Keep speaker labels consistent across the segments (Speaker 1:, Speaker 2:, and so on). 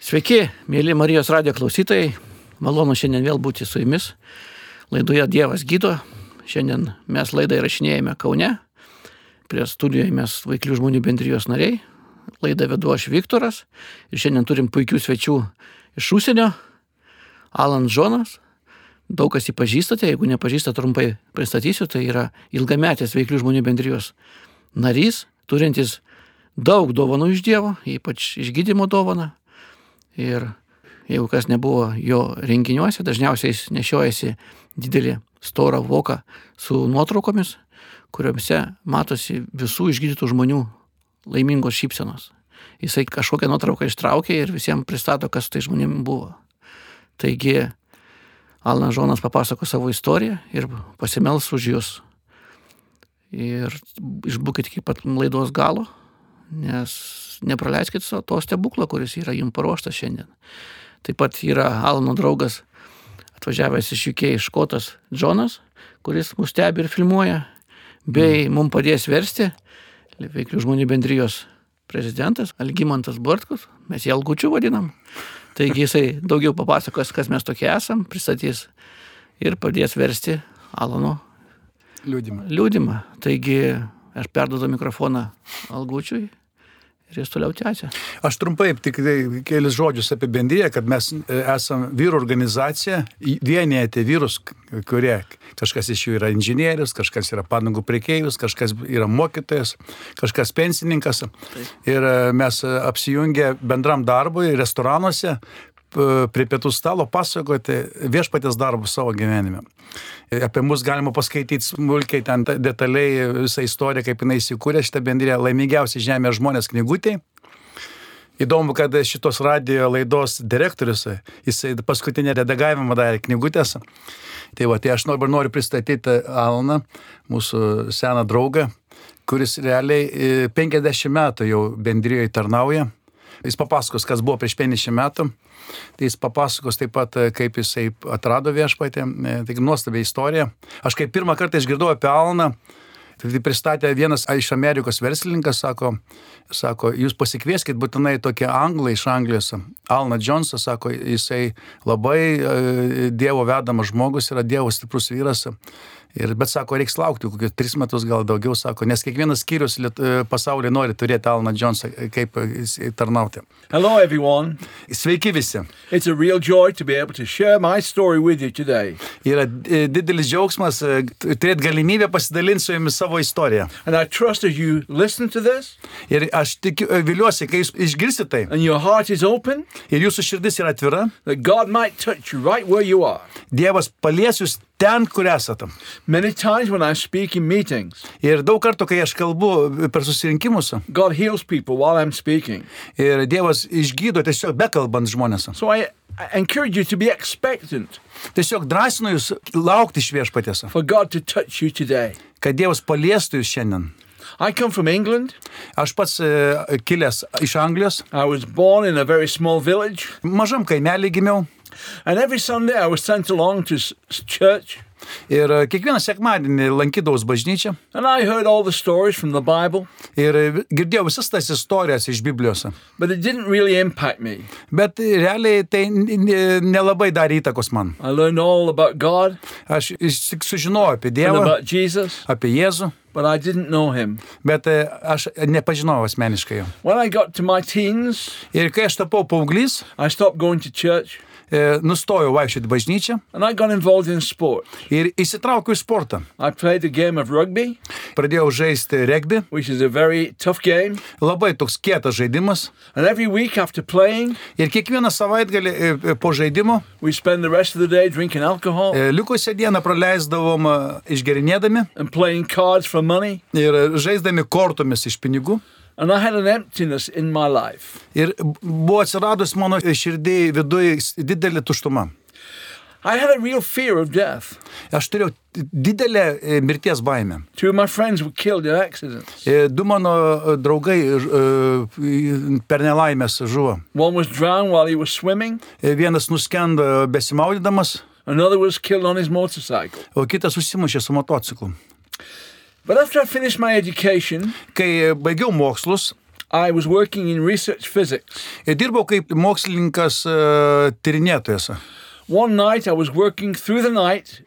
Speaker 1: Sveiki, mėly Marijos radijo klausytojai. Malonu šiandien vėl būti su jumis. Laidoje Dievas gydo. Šiandien mes laidą įrašinėjame Kaune. Prie studijoje mes vaiklių žmonių bendrijos nariai. Laidą vedu aš Viktoras. Ir šiandien turim puikių svečių iš užsienio. Alan Džonas. Daug kas jį pažįstate. Jeigu nepažįstate, trumpai pristatysiu. Tai yra ilgametės vaiklių žmonių bendrijos narys, turintis daug dovanų iš Dievo, ypač išgydymo dovaną. Ir jeigu kas nebuvo jo renginiuose, dažniausiai jis nešiojasi didelį storą voką su nuotraukomis, kuriuose matosi visų išgydytų žmonių laimingos šypsenos. Jisai kažkokią nuotrauką ištraukė ir visiems pristato, kas tai žmonėm buvo. Taigi Alanas Žonas papasako savo istoriją ir pasimels už jūs. Ir išbūkit iki pat laidos galo, nes nepraleiskit so- to stebuklą, kuris yra jums paruoštas šiandien. Taip pat yra Alano draugas, atvažiavęs iš UK, škotas Džonas, kuris mus stebi ir filmuoja, bei mm. mums padės versti veiklių žmonių bendrijos prezidentas Algymantas Bartkus, mes jį Algučiu vadinam. Taigi jisai daugiau papasakos, kas mes tokie esam, pristatys ir padės versti Alano
Speaker 2: liūdimą.
Speaker 1: liūdimą. Taigi aš perdodu mikrofoną Algučiui ir jis toliau tęsia.
Speaker 2: Aš trumpai tik tai kelis žodžius apie bendryją, kad mes e, esam vyrų organizacija, į- vienijate vyrus, k- kurie kažkas iš jų yra inžinierius, kažkas yra padangų priekeivis, kažkas yra mokytojas, kažkas pensininkas. Ir e, mes e, apsijungę bendram darbui restoranuose p- prie pietų stalo pasakoti viešpatės darbus savo gyvenime. Ir Apie mus galima paskaityti smulkiai, ten ta- detaliai visą istoriją, kaip jinai įsikūrė šitą bendrę laimingiausi žemės žmonės knygutėje. Įdomu, kad šitos radio laidos direktorius, jisai paskutinę redagavimą darė knygutės. Tai va, tai aš noriu, noriu pristatyti Alną, mūsų seną draugą, kuris realiai e, 50 metų jau bendrijoje tarnauja. Jis papasakos, kas buvo prieš 50 metų. Tai jis papasakos taip pat, e, kaip jisai atrado viešpatį. E, Tai nuostabi istorija. Aš kaip pirmą kartą išgirdau apie Alną, Tai pristatė vienas iš Amerikos verslininkas, sako, sako, jūs pasikvieskit būtinai tokie anglai iš Anglijos. Alna Džonsas, sako, jisai labai e, Dievo vedamas žmogus, yra Dievo stiprus vyras. Ir, bet sako, reiks laukti kokius tris metus, gal daugiau, sako, nes kiekvienas skyrius liet- e, pasaulyje nori turėti Alna Džonsą, e, kaip e, jis tarnauti.
Speaker 3: Hello, everyone.
Speaker 2: Sveiki visi.
Speaker 3: It's a real joy to be able to share my story with you today.
Speaker 2: Yra e, didelis džiaugsmas e, turėti galimybę pasidalinti su jumis savo istoriją.
Speaker 3: And I trust as you listen to this
Speaker 2: Ir aš tikiu, e, viliuosi, kai jūs išgirsite tai.
Speaker 3: and your heart is open,
Speaker 2: ir jūsų širdis yra atvira,
Speaker 3: that God might touch you right where you are.
Speaker 2: Dievas palies jūs ten, kur esate.
Speaker 3: Many times when I speak in meetings,
Speaker 2: Ir daug kartų, kai aš kalbu per susirinkimus,
Speaker 3: God heals people while I'm speaking.
Speaker 2: ir Dievas išgydo tiesiog bekalbant žmonės.
Speaker 3: So I, I encourage you to be expectant
Speaker 2: Tiesiog drąsinu jūs laukti iš viešpatės,
Speaker 3: for God to touch you today.
Speaker 2: kad Dievas paliestų jūs šiandien.
Speaker 3: I come from England.
Speaker 2: Aš pats e, kilęs iš Anglijos,
Speaker 3: I was born in a very small village,
Speaker 2: mažam kaimelį gimiau
Speaker 3: and every Sunday I was sent along to s- church,
Speaker 2: ir e, kiekvieną sekmadienį lankydavau bažnyčią
Speaker 3: and I heard all the stories from the Bible,
Speaker 2: ir e, girdėjau visas tas istorijas iš Biblijos.
Speaker 3: but it didn't really impact me.
Speaker 2: Bet realiai tai n- n- nelabai darė įtakos man.
Speaker 3: I learned all about God
Speaker 2: Aš iš- tik sužinojau apie
Speaker 3: and
Speaker 2: Dievą,
Speaker 3: about Jesus,
Speaker 2: apie Jėzų.
Speaker 3: but I didn't know him.
Speaker 2: bet e, aš nepažinojau asmeniškai jo.
Speaker 3: When I got to my teens,
Speaker 2: Ir kai aš tapau paauglys,
Speaker 3: I stopped going to church
Speaker 2: e, nustojau vaikščioti bažnyčią
Speaker 3: and I got involved in sport.
Speaker 2: ir įsitraukiau į sportą.
Speaker 3: I played a game of rugby,
Speaker 2: Pradėjau žaisti regbi,
Speaker 3: which is a very tough game,
Speaker 2: labai toks kietas žaidimas.
Speaker 3: and every week after playing,
Speaker 2: Ir kiekvieną savaitgalį e, e, po žaidimo
Speaker 3: we spend the rest of the day drinking alcohol
Speaker 2: e, likusią dieną praleisdavom e, išgerinėdami
Speaker 3: and playing cards for money,
Speaker 2: ir e, žaisdami kortomis iš pinigų.
Speaker 3: and I had an emptiness in my life.
Speaker 2: Ir buvo atsiradus mano širdį viduje didelė tuštuma.
Speaker 3: I had a real fear of death.
Speaker 2: Aš turėjau didelę e, mirties baimę.
Speaker 3: Two of my friends were killed in accidents.
Speaker 2: E, Du mano e, draugai e, e, per nelaimės žuvo.
Speaker 3: One was drowned while he was swimming,
Speaker 2: E, Vienas nuskendo besimaudydamas,
Speaker 3: another was killed on his motorcycle.
Speaker 2: o kitas susimušė su motociklu.
Speaker 3: But after I finished my education,
Speaker 2: Kai baigiau mokslus,
Speaker 3: I was working in research physics.
Speaker 2: Ir dirbau kaip mokslininkas e, tyrinėtojas.
Speaker 3: One night I was working through the night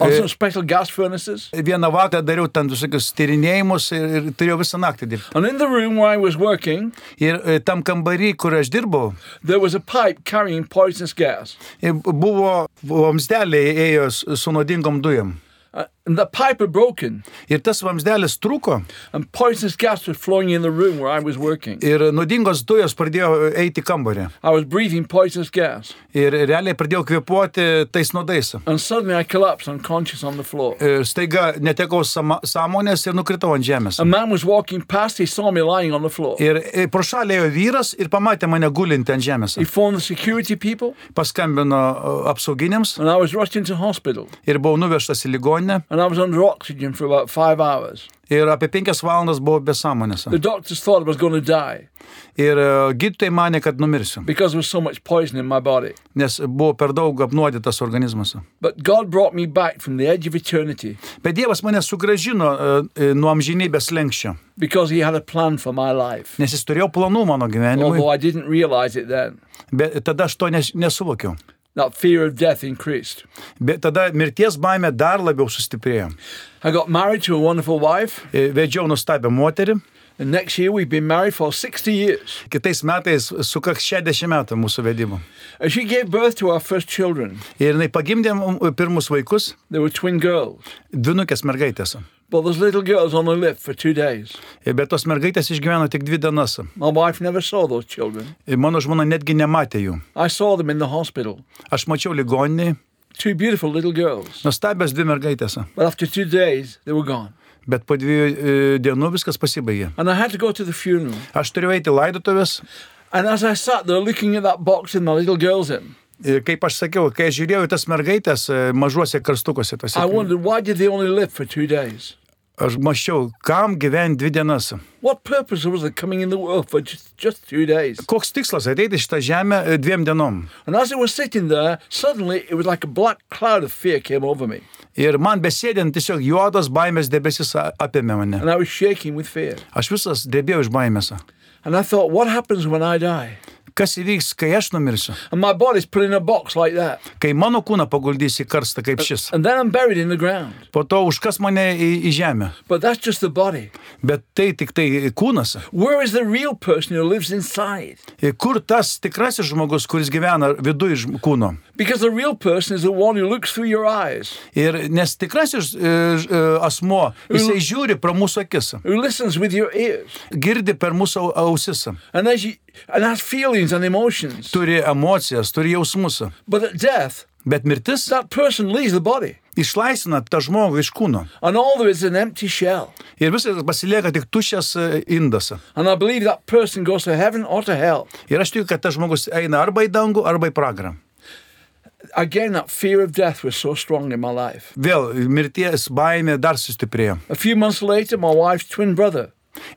Speaker 3: on
Speaker 2: Eh.
Speaker 3: some special gas furnaces.
Speaker 2: E, Vieną vakarą dariau ten visokius tyrinėjimus ir, ir turėjau visą naktį dirbti.
Speaker 3: And in the room where I was working,
Speaker 2: Ir e, tam kambarį, kur aš dirbau,
Speaker 3: there was a pipe carrying poisonous gas.
Speaker 2: e, buvo vamsdeliai ėjo su su nuodingom dujom.
Speaker 3: Uh, and the pipe had broken,
Speaker 2: Ir tas vamsdelis trūko
Speaker 3: and poisonous gas was flowing in the room where I was working.
Speaker 2: ir nuodingos dujos pradėjo eiti į kambarį.
Speaker 3: I was breathing poisonous gas,
Speaker 2: Ir realiai pradėjau kvepuoti tais nuodais.
Speaker 3: and suddenly I collapsed unconscious on the floor.
Speaker 2: Ir staiga netekau sama, sąmonės ir nukritau ant žemės.
Speaker 3: A man was walking past, he saw me lying on the floor.
Speaker 2: Ir e, pro šalį ėjo vyras ir pamatė mane gulintį ant žemės.
Speaker 3: He phoned the security people,
Speaker 2: Paskambino e, apsauginiams
Speaker 3: and I was rushed into hospital.
Speaker 2: ir buvau nuvežtas į ligoninę.
Speaker 3: And I was under oxygen for about five hours.
Speaker 2: Ir apie penkias valandas buvau be sąmonės.
Speaker 3: The doctors thought I was going to die
Speaker 2: Ir e, gydytojai mane, kad numirsiu,
Speaker 3: because there was so much poison in my body.
Speaker 2: nes buvo per daug apnuodytas organizmas.
Speaker 3: But God brought me back from the edge of eternity
Speaker 2: Bet Dievas mane sugražino e, e, nuo amžinybės lenkščio,
Speaker 3: because He had a plan for my life,
Speaker 2: nes jis turėjo planų mano gyvenimui,
Speaker 3: although I didn't realize it then.
Speaker 2: bet tada aš to nes, nesuvokiau.
Speaker 3: That fear of death increased.
Speaker 2: Bet tada mirties baime dar labiau sustiprėjo.
Speaker 3: I got married to a wonderful wife,
Speaker 2: E, Vedžiau nustabią moterį,
Speaker 3: and next year we've been married for 60 years.
Speaker 2: kitais metais sukaks 60 metų mūsų vedimo.
Speaker 3: And she gave birth to our first children.
Speaker 2: Ir jinai pagimdė mum pirmus vaikus,
Speaker 3: They were twin girls,
Speaker 2: dvinukės mergaitės.
Speaker 3: but those little girls only lived for two days.
Speaker 2: E, Bet tos mergaitės išgyveno tik dvi dienas.
Speaker 3: My wife never saw those children.
Speaker 2: E, Mano žmona netgi nematė jų.
Speaker 3: I saw them in the hospital.
Speaker 2: Aš mačiau ligoninį,
Speaker 3: Two beautiful little girls.
Speaker 2: nustabias dvi mergaitės.
Speaker 3: But after two days, they were gone.
Speaker 2: Bet po dviejų e, dienų viskas pasibaigė.
Speaker 3: And I had to go to the funeral.
Speaker 2: Aš turėjau eiti laidotuvės
Speaker 3: And as I sat there looking at that box with my little girls in,
Speaker 2: Ir E, kaip aš sakiau, kai aš žiūrėjau į tas mergaitės e, mažuose karstukuose, tose,
Speaker 3: I wondered why did they only live for two days?
Speaker 2: aš mačiau, kam gyventi dvi dienas.
Speaker 3: What purpose was there coming in the world for just, just two days?
Speaker 2: Koks tikslas ateiti į šitą žemę e, dviem dienom?
Speaker 3: And as I was sitting there, suddenly it was like a black cloud of fear came over me.
Speaker 2: Ir man besėdint tiesiog juodas baimės debesis a- apėmė mane.
Speaker 3: And I was shaking with fear.
Speaker 2: Aš visas drebėjau iš baimės.
Speaker 3: And I thought, what happens when I die?
Speaker 2: Kas įvyks, kai aš numirsiu?
Speaker 3: And my body's put in a box like that.
Speaker 2: Kai mano kūną paguldys į karstą kaip šis.
Speaker 3: And then I'm buried in the ground.
Speaker 2: Po to užkas mane į, į žemę.
Speaker 3: But that's just the body.
Speaker 2: Bet tai tik tai kūnas.
Speaker 3: Where is the real person who lives inside?
Speaker 2: Ir Kur tas tikrasis žmogus, kuris gyvena viduje žm- kūno?
Speaker 3: Because the real person is the one who looks through your eyes,
Speaker 2: Ir nes tikrasis e, ž- e, asmo, jisai žiūri pro mūsų akis,
Speaker 3: who listens with your ears,
Speaker 2: girdi per mūsų au- ausis,
Speaker 3: and as you, and has feelings and emotions.
Speaker 2: turi emocijas, turi jausmus.
Speaker 3: But at death,
Speaker 2: Bet mirtis
Speaker 3: that person leaves the body,
Speaker 2: išlaisvina tą žmogų iš kūno.
Speaker 3: and all there is is an empty shell.
Speaker 2: Ir visas pasilieka tik tušęs e, indas.
Speaker 3: And I believe that person goes to heaven or to hell.
Speaker 2: Ir aš tikiu, kad tas žmogus eina arba į dangų, arba į pragarą.
Speaker 3: Again, that fear of death was so strong in my life.
Speaker 2: Vėl mirties baimė dar sustiprėjo.
Speaker 3: A few months later, my wife's twin brother,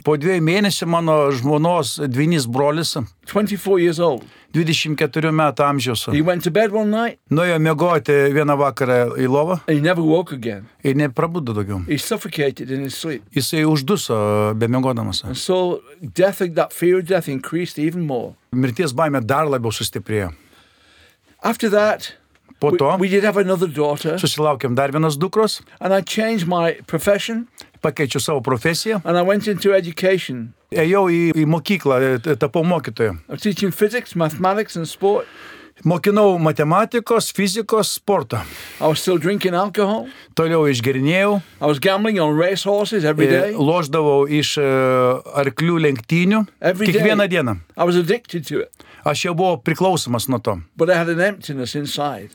Speaker 2: Po dviejų mėnesių mano žmonos dvynys brolis,
Speaker 3: 24 years old,
Speaker 2: 24 metų amžiaus,
Speaker 3: he went to bed one night
Speaker 2: nuėjo miegoti vieną vakarą į lovą
Speaker 3: and he never woke again.
Speaker 2: ir neprabudo daugiau.
Speaker 3: He suffocated in his sleep.
Speaker 2: Jisai užduso bemiegodamas.
Speaker 3: And so death, that fear of death increased even more.
Speaker 2: Mirties baimė dar labiau sustiprėjo.
Speaker 3: After that,
Speaker 2: Po
Speaker 3: we,
Speaker 2: to
Speaker 3: we did have another daughter,
Speaker 2: susilaukėm dar vienos dukros,
Speaker 3: and I changed my profession
Speaker 2: pakeičiau savo profesiją,
Speaker 3: and I went into education.
Speaker 2: ėjau į, į mokyklą, e, t- tapau mokytoju.
Speaker 3: I was teaching physics, mathematics, and sport.
Speaker 2: Mokinau matematikos, fizikos, sporto.
Speaker 3: I was still drinking alcohol.
Speaker 2: Toliau išgerinėjau,
Speaker 3: I was gambling on racehorses every
Speaker 2: e,
Speaker 3: day.
Speaker 2: loždavau iš e, arklių lenktynių
Speaker 3: Every day.
Speaker 2: kiekvieną dieną.
Speaker 3: I was addicted to it,
Speaker 2: Aš jau buvau priklausomas nuo to,
Speaker 3: but I had an emptiness inside.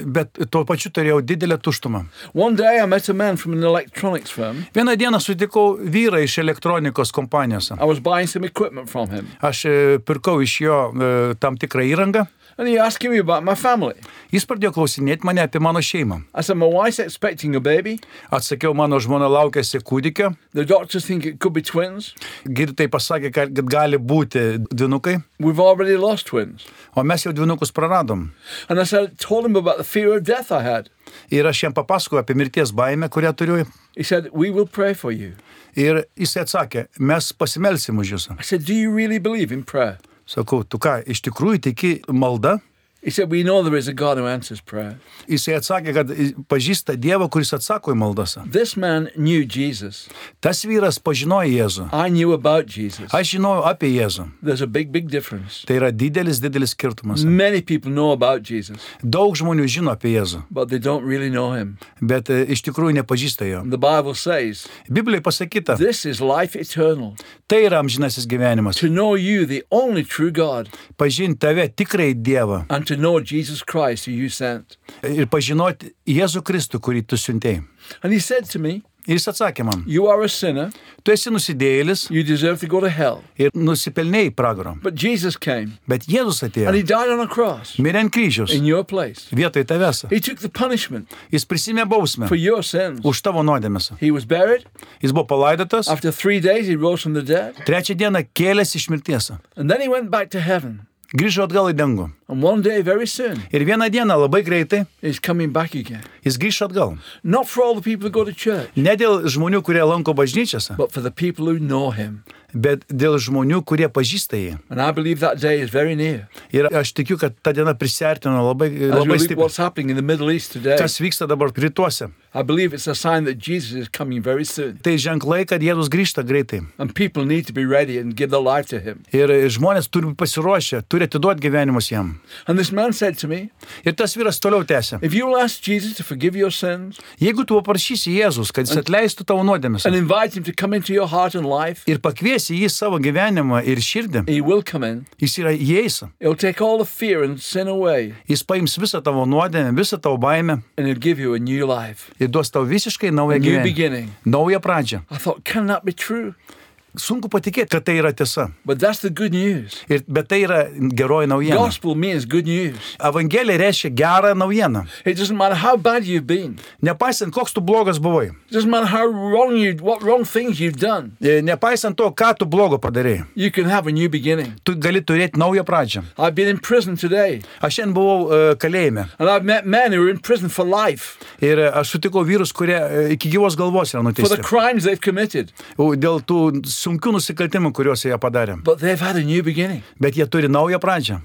Speaker 2: bet tuo pačiu turėjau didelę tuštumą.
Speaker 3: One day I met a man from an electronics firm.
Speaker 2: Vieną dieną sutikau vyrą iš elektronikos kompanijos.
Speaker 3: I was buying some equipment from him,
Speaker 2: Aš e, pirkau iš jo e, tam tikrą įrangą.
Speaker 3: and he asked me about my family.
Speaker 2: Jis pradėjo klausinėti mane apie mano šeimą.
Speaker 3: I said, My wife's expecting a baby.
Speaker 2: Atsakiau, mano žmona laukėsi kūdikio.
Speaker 3: The doctors think it could be twins.
Speaker 2: Girtai pasakė, kad kad gali būti dvinukai,
Speaker 3: We've already lost twins.
Speaker 2: o mes jau dvinukus praradom.
Speaker 3: And I said, told him about the fear of death I had.
Speaker 2: Ir aš jam papasakojau apie mirties baimę, kurią turiu.
Speaker 3: He said, We will pray for you.
Speaker 2: Ir jis atsakė, mes pasimelsim už jūsų.
Speaker 3: I said, Do you really believe in prayer?
Speaker 2: Sakau, tu ką, iš tikrųjų tiki malda?
Speaker 3: He said, We know there is a God who answers prayer.
Speaker 2: Jis atsakė, kad pažįsta Dievą, kuris atsako į maldas.
Speaker 3: This man knew Jesus.
Speaker 2: Tas vyras pažinojo Jėzų.
Speaker 3: I knew about Jesus.
Speaker 2: Aš žinojau apie Jėzų.
Speaker 3: There's a big, big difference.
Speaker 2: Tai yra didelis, didelis skirtumas.
Speaker 3: Many people know about Jesus,
Speaker 2: Daug žmonių žino apie Jėzų,
Speaker 3: but they don't really know him.
Speaker 2: bet e, iš tikrųjų nepažįsta jo.
Speaker 3: And the Bible says,
Speaker 2: Biblijai pasakyta,
Speaker 3: This is life eternal,
Speaker 2: tai yra amžinasis gyvenimas.
Speaker 3: to know you, the only true God,
Speaker 2: Pažinti tave tikrai Dievą
Speaker 3: and to know Jesus Christ, who you sent.
Speaker 2: ir pažinoti Jėzų Kristų, kurį tu siuntėjai.
Speaker 3: And he said to me,
Speaker 2: Ir jis atsakė man,
Speaker 3: You are a sinner,
Speaker 2: tu esi nusidėjėlis
Speaker 3: you deserve to go to hell.
Speaker 2: ir nusipelnėjai pragaro.
Speaker 3: But Jesus came
Speaker 2: Bet Jėzus
Speaker 3: and he
Speaker 2: atėjo,
Speaker 3: died on a cross
Speaker 2: mirė ant kryžiaus,
Speaker 3: in your place.
Speaker 2: vietoj tavęs.
Speaker 3: He took the punishment
Speaker 2: Jis prisimė bausmę
Speaker 3: for your sins.
Speaker 2: už tavo nuodėmės.
Speaker 3: He was buried.
Speaker 2: Jis buvo palaidotas,
Speaker 3: After three days, he rose from the dead.
Speaker 2: trečią dieną kėlėsi iš mirties,
Speaker 3: And then he went back to heaven.
Speaker 2: grįžo atgal į dangų.
Speaker 3: And one day, very soon,
Speaker 2: Ir vieną dieną labai greitai
Speaker 3: he's coming back again.
Speaker 2: jis grįžo atgal.
Speaker 3: Not for all the people who go to church,
Speaker 2: Ne dėl žmonių, kurie lanko bažnyčias,
Speaker 3: but for the people who know him.
Speaker 2: bet dėl žmonių, kurie pažįsta jį.
Speaker 3: And I believe that day is very near.
Speaker 2: Ir aš tikiu, kad ta diena prisartino labai,
Speaker 3: As we
Speaker 2: labai
Speaker 3: look at
Speaker 2: stipriai.
Speaker 3: what's happening in the Middle East today,
Speaker 2: Kas vyksta dabar rytuose?
Speaker 3: I believe it's a sign that Jesus is coming very soon.
Speaker 2: Tai ženklai, kad Jėzus grįžta greitai.
Speaker 3: And people need to be ready and give their life to him.
Speaker 2: Ir žmonės turi būti pasiruošę, turi atiduoti gyvenimus jam.
Speaker 3: And this man said to me,
Speaker 2: Ir tas vyras toliau tęsė.
Speaker 3: If you'll ask Jesus to forgive your sins
Speaker 2: Jeigu tu paprašysi Jėzus, kad jis atleistų tavo nuodėmes
Speaker 3: and invite him to come into your heart and life,
Speaker 2: ir pakviesi jį į savo gyvenimą ir širdį,
Speaker 3: he will come in.
Speaker 2: jis yra jais.
Speaker 3: He'll take all the fear and sin away
Speaker 2: Jis paims visą tavo nuodėmę, visą tavo baimę
Speaker 3: and he'll give you a new life,
Speaker 2: ir duos tau visiškai
Speaker 3: a
Speaker 2: naują
Speaker 3: new
Speaker 2: gyvenimą.
Speaker 3: beginning.
Speaker 2: Naują pradžią.
Speaker 3: I thought, can that be true?
Speaker 2: Sunku patikėti, kad tai yra tiesa.
Speaker 3: But that's the good news.
Speaker 2: Ir, bet tai yra geroji naujiena.
Speaker 3: Gospel means good news.
Speaker 2: Evangelija reiškia gerą naujieną.
Speaker 3: It doesn't matter how bad you've been.
Speaker 2: Nepaisant, koks tu blogas buvai.
Speaker 3: It doesn't matter how wrong you, what wrong things you've done.
Speaker 2: e, Nepaisant to, ką tu blogo padarėjai.
Speaker 3: You can have a new beginning.
Speaker 2: Tu gali turėti naują pradžią.
Speaker 3: I've been in prison today,
Speaker 2: Aš šiandien buvau e, kalėjime
Speaker 3: and I've met men who are in prison for life
Speaker 2: ir e, aš sutikau vyrus, kurie e, iki gyvos galvos yra
Speaker 3: for the
Speaker 2: nuteisti.
Speaker 3: crimes they've committed,
Speaker 2: U, Dėl tų sunkių nusikaltimų, kuriuos jie padarė.
Speaker 3: but they've had a new beginning.
Speaker 2: Bet jie turi naują pradžią.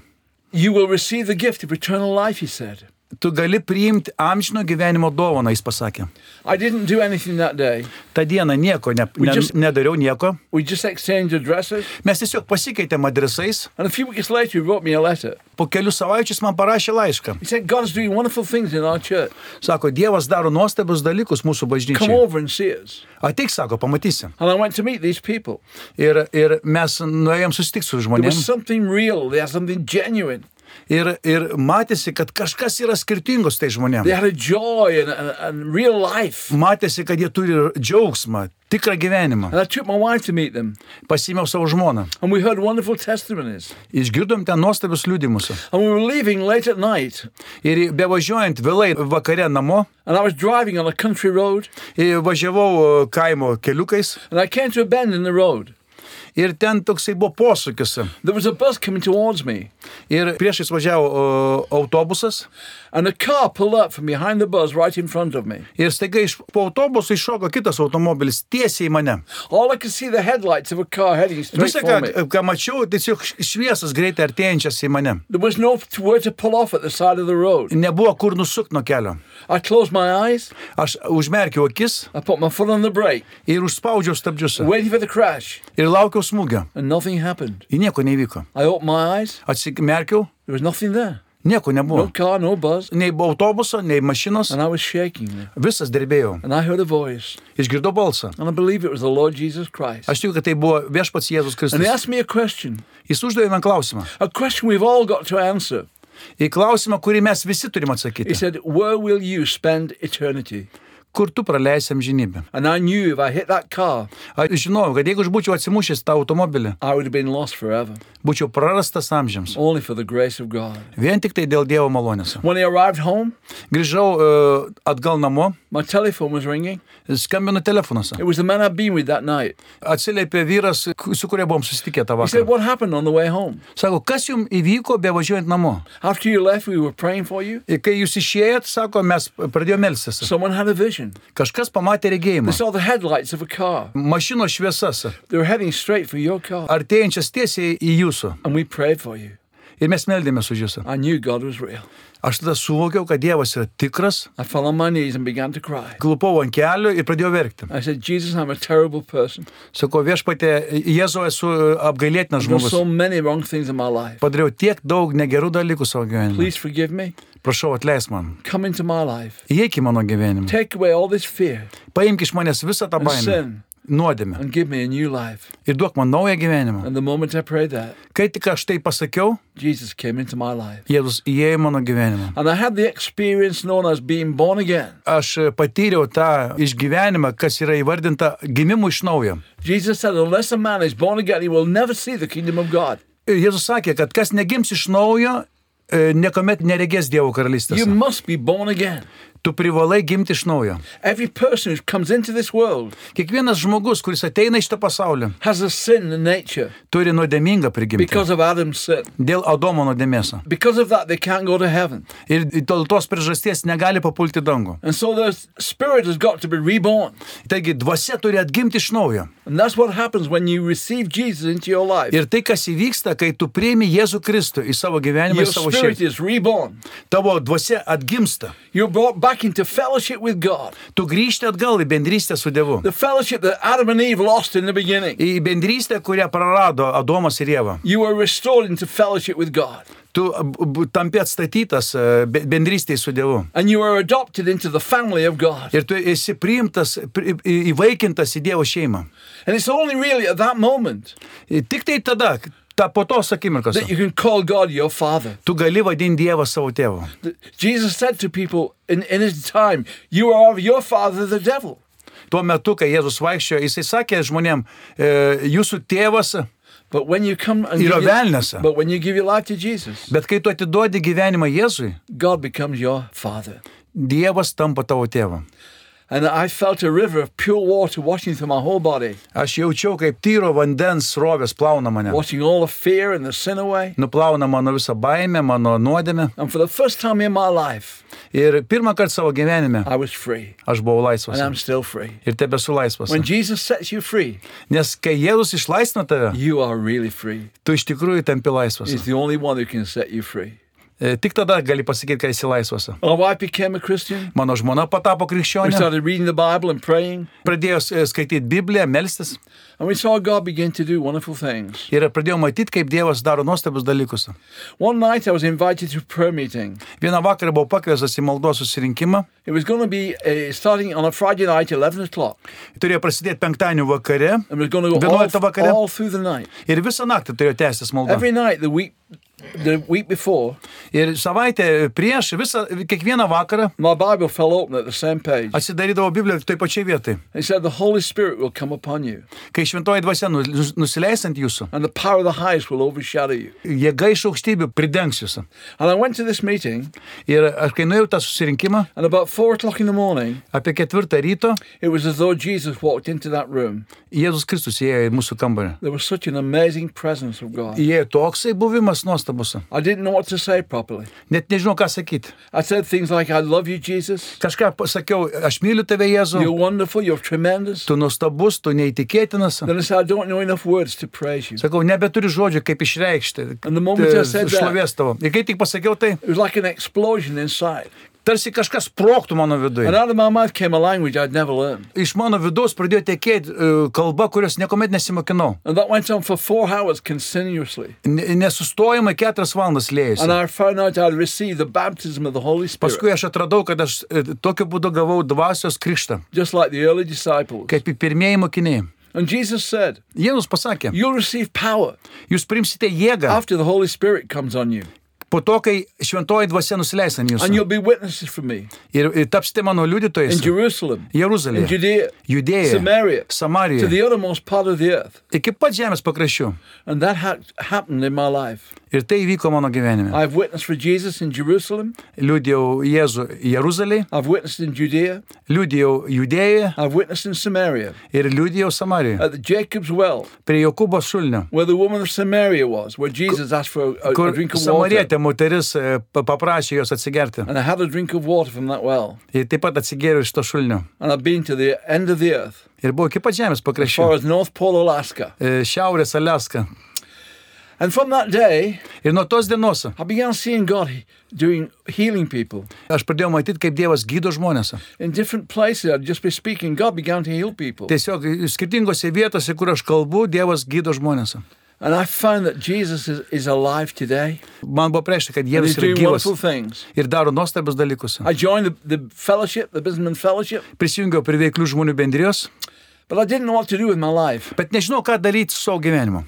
Speaker 3: You will receive the gift of eternal life, he said.
Speaker 2: Tu gali priimti amžino gyvenimo dovaną, jis pasakė.
Speaker 3: I didn't do anything that day.
Speaker 2: Ta diena nieko, ne,
Speaker 3: We
Speaker 2: ne,
Speaker 3: just-
Speaker 2: nedariau nieko.
Speaker 3: We just exchanged addresses,
Speaker 2: Mes tiesiog pasikeitėm adresais.
Speaker 3: and a few weeks later, he wrote me a letter.
Speaker 2: Po kelių savaičių jis man parašė laišką.
Speaker 3: He said, God's doing wonderful things in our church.
Speaker 2: Sako, Dievas daro nuostabius dalykus mūsų
Speaker 3: Come
Speaker 2: bažnyčiai.
Speaker 3: over and see us.
Speaker 2: Ateik, sako, pamatysi.
Speaker 3: And I went to meet these people.
Speaker 2: Ir, ir mes nuėjom susitikti su
Speaker 3: There was
Speaker 2: žmonėmis.
Speaker 3: something real. They had something genuine.
Speaker 2: Ir, ir matėsi, kad kažkas yra skirtingos tai
Speaker 3: They
Speaker 2: žmonėms.
Speaker 3: had a joy and, and, and real life.
Speaker 2: Matėsi, kad jie turi džiaugsmą, tikrą gyvenimą.
Speaker 3: And I took my wife to meet them.
Speaker 2: Pasimiau savo žmoną.
Speaker 3: And we heard wonderful testimonies.
Speaker 2: Išgirdom ten nuostabius liūdimus.
Speaker 3: And we were leaving late at night.
Speaker 2: Ir bevažiuojant vėlai vakare namo,
Speaker 3: And I was driving on a country road.
Speaker 2: ir važiavau e, kaimo keliukais
Speaker 3: And I came to a bend in the road.
Speaker 2: ir ten toksai buvo posūkis.
Speaker 3: There was a bus coming towards me.
Speaker 2: Ir priešais važiavo e, autobusas
Speaker 3: And a car pulled up from behind the bus right in front of me.
Speaker 2: ir staiga iš po autobuso iššoko kitas automobilis tiesiai į mane.
Speaker 3: All I could see the headlights of a car heading straight
Speaker 2: Visą,
Speaker 3: for me.
Speaker 2: ką, ką mačiau, tiesiog š- šviesas greitai artėjančias į mane.
Speaker 3: There was nowhere to pull off at the side of the road.
Speaker 2: Nebuvo kur nusukti nuo kelio.
Speaker 3: I closed my eyes.
Speaker 2: Aš užmerkiau akis
Speaker 3: I put my foot on the brake,
Speaker 2: ir užspaudžiau stabdžius.
Speaker 3: waiting for the crash.
Speaker 2: Ir laukiau smūgio.
Speaker 3: And nothing happened.
Speaker 2: Ir nieko nevyko.
Speaker 3: I opened my eyes.
Speaker 2: Atsimerkiau,
Speaker 3: There was nothing there.
Speaker 2: nieko nebuvo.
Speaker 3: No car, no bus.
Speaker 2: Nei autobuso, nei mašinos.
Speaker 3: And I was shaking.
Speaker 2: Visas drebėjau.
Speaker 3: And I heard a voice.
Speaker 2: Išgirdau balsą.
Speaker 3: And I believe it was the Lord Jesus Christ.
Speaker 2: Aš tikiu, kad tai buvo viešpats Jėzus
Speaker 3: And he
Speaker 2: Kristus.
Speaker 3: asked me a question,
Speaker 2: Jis uždavė man klausimą.
Speaker 3: a question we've all got to answer.
Speaker 2: Į klausimą, kurį mes visi turim
Speaker 3: He
Speaker 2: atsakyti.
Speaker 3: said, Where will you spend eternity?
Speaker 2: kur tu praleisi amžinybę.
Speaker 3: And I knew if I hit that car,
Speaker 2: Aš žinojau, kad jeigu aš būčiau atsimušęs tą automobilį,
Speaker 3: I would have been lost forever,
Speaker 2: būčiau prarastas amžiams.
Speaker 3: only for the grace of God.
Speaker 2: Vien tik tai dėl Dievo malonės.
Speaker 3: When I arrived home,
Speaker 2: Grįžau e, atgal namo,
Speaker 3: my telephone was ringing.
Speaker 2: skambinu telefonuose.
Speaker 3: It was the man I'd been with that night.
Speaker 2: Atsiliepė vyras, ku- su kuria buvom susitikę tą
Speaker 3: He said,
Speaker 2: vakarą.
Speaker 3: What happened on the way home?
Speaker 2: Sako, kas jums įvyko be važiuojant namo?
Speaker 3: After you left, we were praying for you.
Speaker 2: Ir kai jūs išėjot, sako, mes pradėjome melsis.
Speaker 3: Someone had a vision.
Speaker 2: Kažkas pamatė
Speaker 3: They
Speaker 2: regėjimą.
Speaker 3: saw the headlights of a car.
Speaker 2: Mašinos šviesas,
Speaker 3: They were heading straight for your car.
Speaker 2: artėjančias tiesiai į jūsų.
Speaker 3: And we prayed for you.
Speaker 2: Ir mes meldėmės už jūsų.
Speaker 3: I knew God was real.
Speaker 2: Aš tada suvokiau, kad Dievas yra tikras,
Speaker 3: I fell on my knees and began to cry.
Speaker 2: klupau ant kelių ir pradėjau verkti.
Speaker 3: I said, Jesus, I'm a terrible person.
Speaker 2: Sakau, viešpatė, Jėzau esu e, apgailėtinas
Speaker 3: I've done
Speaker 2: žmogus.
Speaker 3: so many wrong things in my life.
Speaker 2: Padariau tiek daug negerų dalykų savo gyvenime.
Speaker 3: Please forgive me.
Speaker 2: Prašau, atleisk man.
Speaker 3: Come into my life.
Speaker 2: Įeik į mano gyvenimą.
Speaker 3: Take away all this fear
Speaker 2: Paimk iš manęs visą tą
Speaker 3: and
Speaker 2: baimę.
Speaker 3: sin
Speaker 2: Nuodėmę.
Speaker 3: and give me a new life.
Speaker 2: Ir duok man naują gyvenimą.
Speaker 3: And the moment I prayed that,
Speaker 2: Kai tik aš tai pasakiau,
Speaker 3: Jesus came into my life.
Speaker 2: Jėzus įėjo į mano gyvenimą.
Speaker 3: And I had the experience known as being born again.
Speaker 2: Aš e, patyriau tą išgyvenimą, kas yra įvardinta gimimu iš naujo.
Speaker 3: Jesus said, Unless a man is born again, he will never see the kingdom of God.
Speaker 2: Ir Jėzus sakė, kad kas negims iš naujo, e, niekuomet neregės Dievo karalystės.
Speaker 3: You must be born again.
Speaker 2: Tu privalai gimti iš naujo.
Speaker 3: Every person who comes into this world
Speaker 2: Kiekvienas žmogus, kuris ateina iš tą pasaulį,
Speaker 3: has a sin in nature
Speaker 2: turi nuodėmingą prigimtį.
Speaker 3: because of Adam's sin.
Speaker 2: Dėl Adomo nuodėmės.
Speaker 3: Because of that, they can't go to heaven.
Speaker 2: Ir dėl tos priežasties negali papulti į dangų.
Speaker 3: And so their spirit has got to be reborn.
Speaker 2: Taigi dvasia turi atgimti iš naujo.
Speaker 3: And that's what happens when you receive Jesus into your life.
Speaker 2: Ir tai, kas įvyksta, kai tu prieimi Jėzų Kristų į savo gyvenimą,
Speaker 3: Your
Speaker 2: į savo
Speaker 3: spirit
Speaker 2: širdį,
Speaker 3: is reborn.
Speaker 2: tavo dvasia atgimsta.
Speaker 3: You're brought back into fellowship with God,
Speaker 2: Tu grįžti atgal į bendrystę su Dievu.
Speaker 3: the fellowship that Adam and Eve lost in the beginning.
Speaker 2: Į bendrystę, kurią prarado Adomas ir Jėva.
Speaker 3: You are restored into fellowship with God,
Speaker 2: Tu b- b- tampi atstatytas e, be- bendrystėj su Dievu.
Speaker 3: and you are adopted into the family of God.
Speaker 2: Ir tu esi priimtas, pri- į- įvaikintas į Dievo šeimą.
Speaker 3: And it's only really at that moment
Speaker 2: Ir Tik tai tada, ta po tos akimirkos,
Speaker 3: that you can call God your Father.
Speaker 2: tu gali vadinti Dievą savo tėvu.
Speaker 3: Jesus said to people in, in his time, You are of your father, the devil.
Speaker 2: Tuo metu, kai Jėzus vaikščiojo, jisai sakė žmonėm, e, jūsų tėvas,
Speaker 3: But when you come and
Speaker 2: Yra
Speaker 3: give your-
Speaker 2: velnias.
Speaker 3: but when you give your life to Jesus,
Speaker 2: bet kai tu atiduodi gyvenimą Jėzui,
Speaker 3: God becomes your father.
Speaker 2: Dievas tampa tavo tėvu.
Speaker 3: And I felt a river of pure water washing through my whole body,
Speaker 2: Aš jaučiau, kaip tyro vandens srovės plauna mane.
Speaker 3: washing all the fear and the sin away.
Speaker 2: Nuplauna mano visą baimę, mano nuodėmę.
Speaker 3: And for the first time in my life,
Speaker 2: Ir pirmą kartą savo gyvenime
Speaker 3: I was free.
Speaker 2: aš buvau
Speaker 3: And I'm
Speaker 2: laisvas.
Speaker 3: still free.
Speaker 2: Ir tebesu laisvas.
Speaker 3: When Jesus sets you free,
Speaker 2: Nes kai Jėzus išlaisvina tave,
Speaker 3: you are really free.
Speaker 2: tu iš tikrųjų tampi laisvas.
Speaker 3: He's the only one who can set you free.
Speaker 2: E, Tik tada gali pasakyti, kad esi laisvas.
Speaker 3: My wife became a Christian.
Speaker 2: Mano žmona patapo
Speaker 3: We
Speaker 2: krikščionė,
Speaker 3: started reading the Bible and praying,
Speaker 2: pradėjo e, skaityti Bibliją, melstis
Speaker 3: and we saw God begin to do wonderful things.
Speaker 2: ir pradėjo matyti, kaip Dievas daro nuostabius dalykus.
Speaker 3: One night I was invited to a prayer meeting.
Speaker 2: Vieną vakarą buvau pakviestas į maldos susirinkimą,
Speaker 3: It was going to be uh, starting on a Friday night, 11 o'clock,
Speaker 2: turėjo prasidėti penktadienio vakare
Speaker 3: and was going to go
Speaker 2: Vienuoliktą
Speaker 3: all,
Speaker 2: vakare.
Speaker 3: all through the night.
Speaker 2: ir visą naktį turėjo tęstis malda.
Speaker 3: Every night the week, the week before,
Speaker 2: Ir savaitę prieš, visą, kiekvieną vakarą
Speaker 3: my Bible fell open at the same page.
Speaker 2: atsidarydavo Bibliją toj pačiai vietai.
Speaker 3: It said, The Holy Spirit will come upon you,
Speaker 2: Kai šventoji dvasia nu- nus- nusileis ant jūsų,
Speaker 3: and the power of the highest will overshadow you.
Speaker 2: jėga iš aukštybių pridengs jūsų.
Speaker 3: And I went to this meeting,
Speaker 2: Ir aš kai nuėjau tą susirinkimą,
Speaker 3: and about four o'clock in the morning,
Speaker 2: apie ketvirtą ryto
Speaker 3: it was as though Jesus walked into that room.
Speaker 2: Jėzus Kristus įėjo į mūsų kambarį.
Speaker 3: There was such an amazing presence of God.
Speaker 2: Įėjo toksai buvimas nuostabus.
Speaker 3: I didn't know what to say properly.
Speaker 2: Net nežinau, ką sakyti.
Speaker 3: I said things like, I love you, Jesus.
Speaker 2: Kažką pasakiau, aš myliu tave,
Speaker 3: You're
Speaker 2: Jėzau.
Speaker 3: wonderful. You're tremendous.
Speaker 2: Tu nuostabus, tu neįtikėtinas.
Speaker 3: Then I said, I don't know enough words to praise you.
Speaker 2: Sakau, nebeturiu žodžių, kaip išreikšti.
Speaker 3: And the moment I
Speaker 2: e,
Speaker 3: said that-
Speaker 2: Šlovės tavo. Ir kai tik pasakiau tai,
Speaker 3: It was like an explosion inside.
Speaker 2: tarsi kažkas proktų mano viduje.
Speaker 3: And out of my mouth came a language I'd never learned.
Speaker 2: Iš mano vidaus pradėjo tekėti e, kalba, kurios niekuomet nesimokinau.
Speaker 3: And that went on for four hours continuously.
Speaker 2: Ne- Nesustojama keturias valandas
Speaker 3: And
Speaker 2: lėjus.
Speaker 3: I found out I'd received the baptism of the Holy Spirit,
Speaker 2: Paskui aš atradau, kad aš e, tokiu būdu gavau dvasios krikštą,
Speaker 3: just like the early disciples.
Speaker 2: kaip ir pirmieji mokiniai.
Speaker 3: And Jesus said,
Speaker 2: Jėzus pasakė,
Speaker 3: You'll receive power
Speaker 2: jūs primsite jėgą
Speaker 3: after the Holy Spirit comes on you.
Speaker 2: Po to, kai šventoji dvasia nusileis ant
Speaker 3: and
Speaker 2: jūsų
Speaker 3: you'll be witnesses for me
Speaker 2: ir, ir tapsite mano liudytojais
Speaker 3: in Jerusalem, in
Speaker 2: Jeruzalėje,
Speaker 3: Judea,
Speaker 2: Judėjoje,
Speaker 3: Samaria, to
Speaker 2: Samarijoje,
Speaker 3: the uttermost part of the earth.
Speaker 2: iki pat žemės pakraščių.
Speaker 3: And that ha- happened in my life.
Speaker 2: Ir tai įvyko mano gyvenime.
Speaker 3: I've witnessed for Jesus in Jerusalem.
Speaker 2: Liūdėjau Jėzų Jeruzalėje,
Speaker 3: I've witnessed in Judea.
Speaker 2: liūdėjau Judėjoje
Speaker 3: I've witnessed in Samaria
Speaker 2: ir liūdėjau Samarijoje.
Speaker 3: at the Jacob's well,
Speaker 2: Prie Jokūbo šulnio,
Speaker 3: where the woman of Samaria was, where Jesus asked for a, a, a
Speaker 2: kur
Speaker 3: drink of water.
Speaker 2: samarietė moteris e, pa- paprašė jos atsigerti.
Speaker 3: And I had a drink of water from that well.
Speaker 2: Ir taip pat atsigėriau iš to šulnio.
Speaker 3: And I've been to the end of the earth,
Speaker 2: Ir buvau iki pat žemės
Speaker 3: as far
Speaker 2: pakraščių.
Speaker 3: as North Pole, Alaska.
Speaker 2: E, Šiaurės Aleska.
Speaker 3: And from that day,
Speaker 2: Ir nuo tos dienos
Speaker 3: I began seeing God he- doing healing people
Speaker 2: aš pradėjau matyti, kaip Dievas gydo žmonės.
Speaker 3: in different places. I'd just be speaking. God began to heal people,
Speaker 2: Tiesiog skirtingose vietose, kur aš kalbu, Dievas gydo žmonės.
Speaker 3: and I found that Jesus is, is alive today.
Speaker 2: Man buvo priešta, kad
Speaker 3: And
Speaker 2: Dievas
Speaker 3: he's
Speaker 2: yra
Speaker 3: doing
Speaker 2: gyvas
Speaker 3: wonderful things.
Speaker 2: ir daro nuostabius dalykus.
Speaker 3: I joined the, the fellowship, the businessman fellowship,
Speaker 2: Prisijungiau prie veiklių žmonių bendrijos,
Speaker 3: but I didn't know what to do with my life.
Speaker 2: bet nežinau, ką daryti su savo gyvenimu.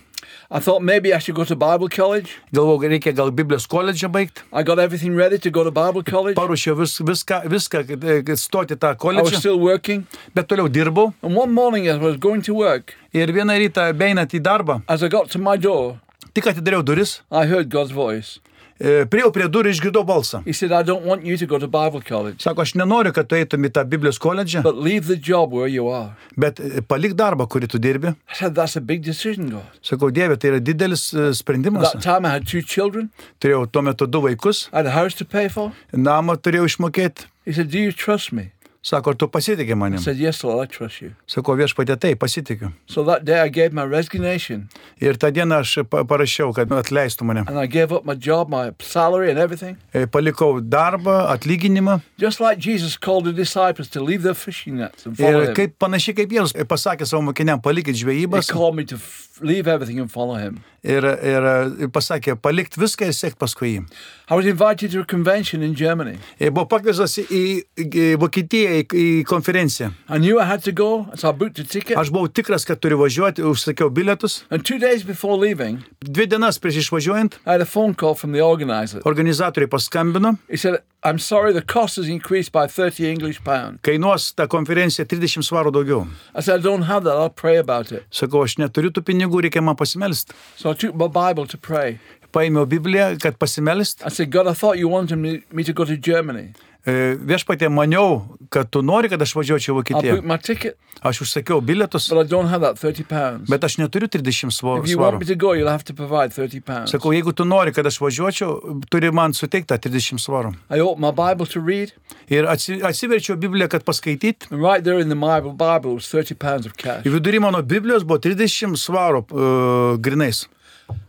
Speaker 3: I thought maybe I should go to Bible college.
Speaker 2: Galvojau, reikia gal Biblijos koledžą baigti.
Speaker 3: I got everything ready to go to Bible college.
Speaker 2: Paruošiau vis, viską, viską, kad, e, kad stoti tą
Speaker 3: I was
Speaker 2: koledžą,
Speaker 3: still working.
Speaker 2: bet toliau dirbau.
Speaker 3: And one morning, as I was going to work,
Speaker 2: Ir vieną rytą, beinant į darbą,
Speaker 3: as I got to my door,
Speaker 2: tik atidariau duris,
Speaker 3: I heard God's voice.
Speaker 2: e, priejau prie durų ir išgirdau balsą.
Speaker 3: He said, I don't want you to go to Bible college,
Speaker 2: Sako, aš nenoriu, kad tu eitum į tą Biblijos koledžą,
Speaker 3: but leave the job where you are.
Speaker 2: bet e, palik darbą, kurį tu dirbi.
Speaker 3: I said, That's a big decision, God.
Speaker 2: Sakau, Dieve, tai yra didelis e,
Speaker 3: At
Speaker 2: sprendimas.
Speaker 3: that time, I had two children,
Speaker 2: Turėjau tuo metu du vaikus,
Speaker 3: I had a house to pay for.
Speaker 2: namą turėjau išmokėti.
Speaker 3: He said, Do you trust me?
Speaker 2: Sako, ar tu pasitikė
Speaker 3: I
Speaker 2: manim?
Speaker 3: said, Yes, Lord, I trust you.
Speaker 2: Sako, viešpatė, tai pasitikiu.
Speaker 3: So that day, I gave my resignation
Speaker 2: Ir tą dieną aš pa- parašiau, kad atleistų mane.
Speaker 3: and I gave up my job, my salary, and everything.
Speaker 2: E, Palikau darbą, atlyginimą.
Speaker 3: Just like Jesus called the disciples to leave their fishing nets and follow
Speaker 2: Ir
Speaker 3: him.
Speaker 2: kaip panašiai kaip Jėzus e, pasakė savo mokiniam, palikit
Speaker 3: He
Speaker 2: žvejybas.
Speaker 3: called me to f- leave everything and follow him.
Speaker 2: Ir, ir e, pasakė, palikt viską ir sėkt paskui jį.
Speaker 3: I was invited to a convention in Germany.
Speaker 2: E, Buvo pakviestas į, į, į Vokietiją į, į konferenciją.
Speaker 3: I knew I had to go, so I booked a ticket.
Speaker 2: Aš buvau tikras, kad turiu važiuoti, užsakiau bilietus.
Speaker 3: And two days before leaving,
Speaker 2: Dvi dienas prieš išvažiuojant
Speaker 3: I had a phone call from the organizer.
Speaker 2: organizatoriai paskambino,
Speaker 3: He said, I'm sorry, the cost has increased by 30 English pound.
Speaker 2: kainuos ta konferencija 30 svarų daugiau.
Speaker 3: I said, I don't have that, I'll pray about it.
Speaker 2: Sakau, aš neturiu tų pinigų, reikia man pasimelst.
Speaker 3: So I took my Bible to pray.
Speaker 2: Paėmiau Bibliją, kad pasimelst.
Speaker 3: I said, God, I thought you wanted me me to go to Germany.
Speaker 2: E, Viešpatė, maniau, kad tu nori, kad aš važiuočiau į
Speaker 3: I
Speaker 2: Vokietiją.
Speaker 3: booked my ticket,
Speaker 2: Aš užsakiau bilietus,
Speaker 3: but I don't have that 30 pounds.
Speaker 2: bet aš neturiu 30 svar-
Speaker 3: If you want
Speaker 2: svarų.
Speaker 3: me to go, you'll have to provide 30 pounds.
Speaker 2: Sakau, jeigu tu nori, kad aš važiuočiau, turi man suteikti tą 30 svarų.
Speaker 3: I opened my Bible to read,
Speaker 2: Ir atsi- atsiverčiau Bibliją, kad paskaityti.
Speaker 3: and right there in the Bible, Bible was 30 pounds of cash.
Speaker 2: Ir vidury mano Biblijos buvo 30 svarų uh, grinais.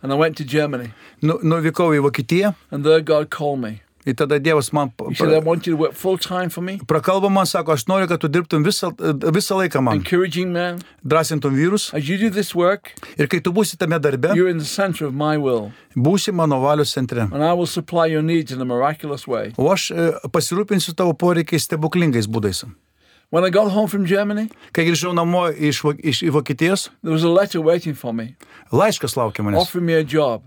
Speaker 3: And I went to Germany,
Speaker 2: Nu, nuvykau į Vokietiją
Speaker 3: and there God called me.
Speaker 2: ir tada Dievas man pa-
Speaker 3: He said, I
Speaker 2: pra-
Speaker 3: want you to work full time for me,
Speaker 2: prakalbo, man sako, aš noriu, kad tu dirbtum visą, visą laiką man,
Speaker 3: encouraging man.
Speaker 2: drąsintum vyrus.
Speaker 3: As you do this work,
Speaker 2: Ir kai tu būsi tame darbe,
Speaker 3: you're in the center of my will,
Speaker 2: būsi mano valios centre.
Speaker 3: and I will supply your needs in a miraculous way.
Speaker 2: O aš e, pasirūpinsiu tavo poreikiais stebuklingais būdais.
Speaker 3: When I got home from Germany,
Speaker 2: Kai grįžau namo iš, Vo- iš į Vokietijos,
Speaker 3: there was a letter waiting for me,
Speaker 2: laiškas laukia manęs.
Speaker 3: offering me a job